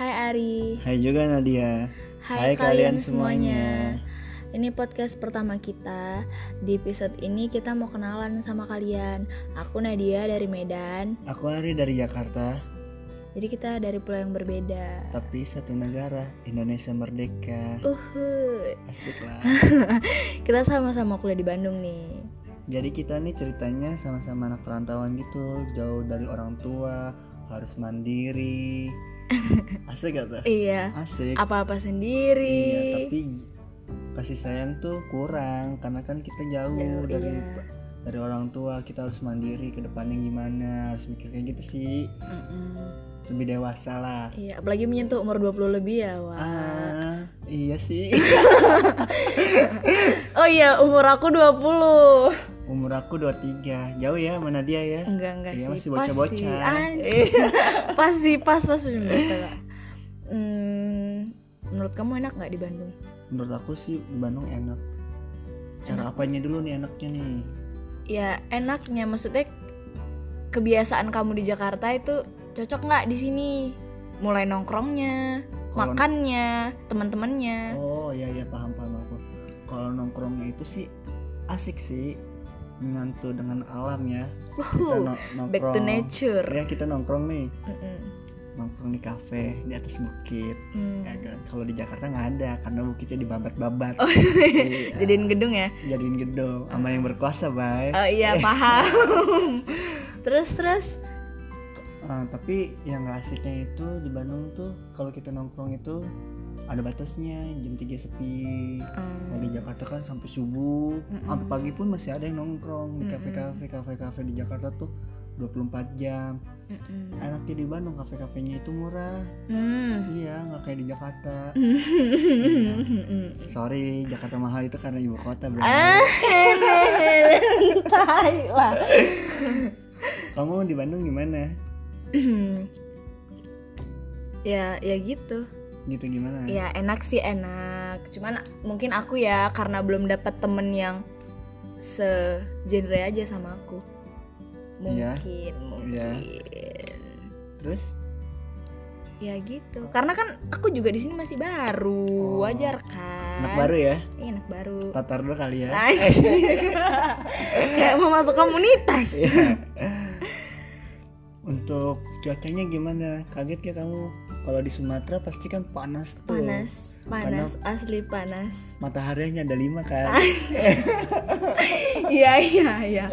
Ari. Hai juga Nadia. Hai, kalian semuanya. Ini podcast pertama kita. Di episode ini kita mau kenalan sama kalian. Aku Nadia dari Medan. Aku Ari dari Jakarta, Jadi kita dari pulau yang berbeda. tapi satu negara, Indonesia merdeka. Uhuy. Asik lah. Kita sama-sama kuliah di Bandung nih. Jadi kita nih ceritanya sama-sama anak perantauan gitu, jauh dari orang tua, harus mandiri. Asik gak tuh? Iya. Asik. Apa-apa sendiri. Iya, tapi kasih sayang tuh kurang karena kan kita jauh Jauh, dari iya. dari orang tua, kita harus mandiri ke depannya gimana, harus mikir kayak gitu sih. Mm-mm. Lebih dewasa lah. Iya, apalagi menyentuh umur 20 lebih ya, Wak. Ah, iya sih. Oh iya, umur aku 20. Umur aku 23. Jauh ya mana dia ya? Enggak, enggak Iya, sih. masih Pas sih. bocah-bocah. Anjing. pas sih, pas pas bener kata Kak. Hmm, menurut kamu enak nggak di Bandung? Menurut aku sih di Bandung enak. Cara apanya dulu nih enaknya nih? Ya, enaknya maksudnya kebiasaan kamu di Jakarta itu cocok nggak di sini? Mulai nongkrongnya, Kalau- makannya, teman-temannya. Oh iya iya paham paham aku. Kalau nongkrongnya itu sih asik sih. Nyantu dengan alam ya. Kita Wuhu, no- nongkrong. back to nature. Ya kita nongkrong nih, Mm-mm. nongkrong di kafe di atas bukit. Hmm. Ya kan? Kalau di Jakarta nggak ada karena bukitnya dibabat-babat. Oh, Iya. jadiin gedung ya? jadiin gedung sama yang berkuasa, bay. Oh iya, paham. terus terus Ah, tapi yang nggak asiknya itu di Bandung tuh kalau kita nongkrong itu ada batasnya jam 3 sepi kalau di Jakarta kan sampai subuh Mm-mm. sampai pagi pun masih ada yang nongkrong Mm-mm. di kafe-kafe kafe-kafe di Jakarta tuh 24 jam Mm-mm. enaknya di Bandung kafe-kafenya itu murah Hmm. iya nggak kayak di Jakarta Ya, Hmm. sorry Jakarta mahal itu karena ibu kota bro Ah, tai lah. kamu di Bandung gimana ya ya gitu gitu gimana ya enak sih enak cuman mungkin aku ya karena belum dapat temen yang segenre aja sama aku Iya. mungkin mungkin terus ya gitu karena kan aku juga di sini masih baru Oh. wajar kan anak baru ya Iya, anak baru tatar dulu kali ya Anjing. kayak mau masuk komunitas Iya. Untuk cuacanya gimana? Kaget gak kamu? Kalau di Sumatera pasti kan panas tuh. panas panas asli panas Mataharinya ada lima kan. iya iya iya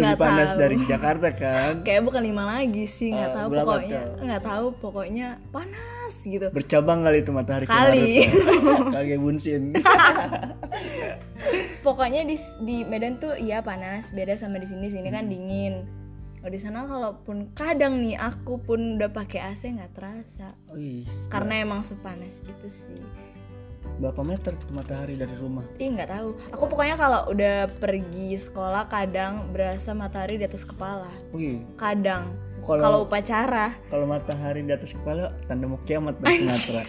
Nggak panas tahu. dari Jakarta kan. kayak bukan lima lagi sih nggak Eh, tahu berapa pokoknya tuh? nggak tahu pokoknya panas gitu Bercabang kali itu matahari ke Kali. Garut tuh. Kayak bunsin. pokoknya di di Medan tuh iya panas beda sama di sini sini kan dingin kalau di sana kalaupun kadang nih aku pun udah pakai AC nggak terasa Wih, Iya. karena emang sepanas itu sih berapa meter tuh matahari dari rumah? Ih nggak tahu. Aku pokoknya kalau udah pergi sekolah kadang berasa matahari di atas kepala. Wih, Kadang. Kalau kalau upacara kalau matahari di atas kepala tanda mau kiamat dari Sumatera.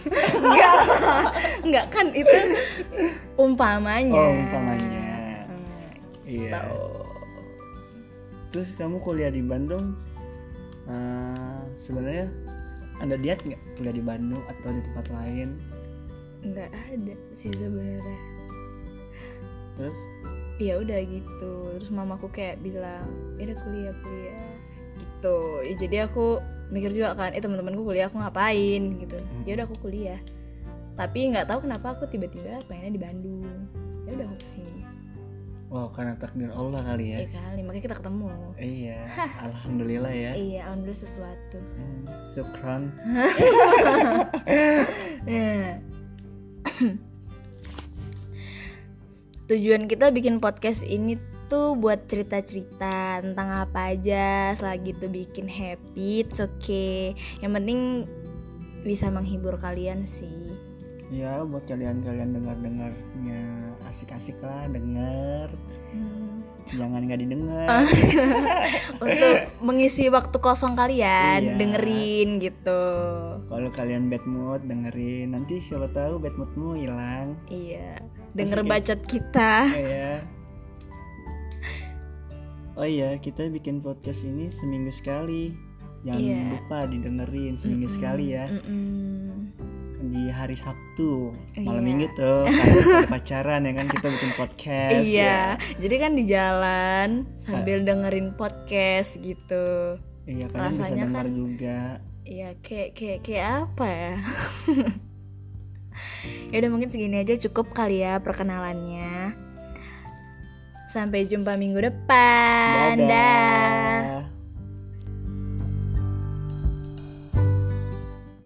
enggak enggak kan itu umpamanya. Hmm, Oh, umpamanya. Iya. Tahu. Terus kamu kuliah di Bandung eh, sebenarnya Anda lihat nggak kuliah di Bandung atau di tempat lain? Enggak ada sih sebenarnya. Terus Ya udah gitu. Terus mamaku kayak bilang, "Ya udah kuliah kuliah." Gitu. Ya, jadi aku mikir juga kan, eh teman-temanku kuliah aku ngapain gitu. Ya udah aku kuliah. Tapi nggak tahu kenapa aku tiba-tiba pengennya di Bandung. Ya udah aku kesini. oh karena takdir Allah kali ya. Ya kali, makanya kita ketemu. Iya, alhamdulillah ya. Iya, alhamdulillah sesuatu. Hmm, Syukran. Nah. Tujuan kita bikin podcast ini tuh buat cerita-cerita tentang apa aja selagi itu bikin happy, it's okay. Yang penting bisa menghibur kalian sih. Ya buat kalian-kalian dengar-dengarnya asik-asik lah denger. Hmm. Jangan nggak didengar. Untuk mengisi waktu kosong kalian, Iya. dengerin gitu. Kalau kalian bad mood dengerin. Nanti siapa tahu bad moodmu hilang. Iya, denger Asik ya. bacot kita. Oh ya. Oh iya, kita bikin podcast ini seminggu sekali. jangan Iya. lupa didengerin seminggu Mm-mm, sekali ya mm-mm. di hari Sabtu malam Iya. minggu tuh kalau kita ada pacaran ya kan kita bikin podcast Iya, ya. jadi kan di jalan sambil dengerin podcast gitu. iya kalian bisa Rasanya dengar kan- juga Iya, kayak kayak kayak apa ya? ya udah mungkin segini aja cukup kali ya perkenalannya. Sampai jumpa minggu depan. Dadah. Dah.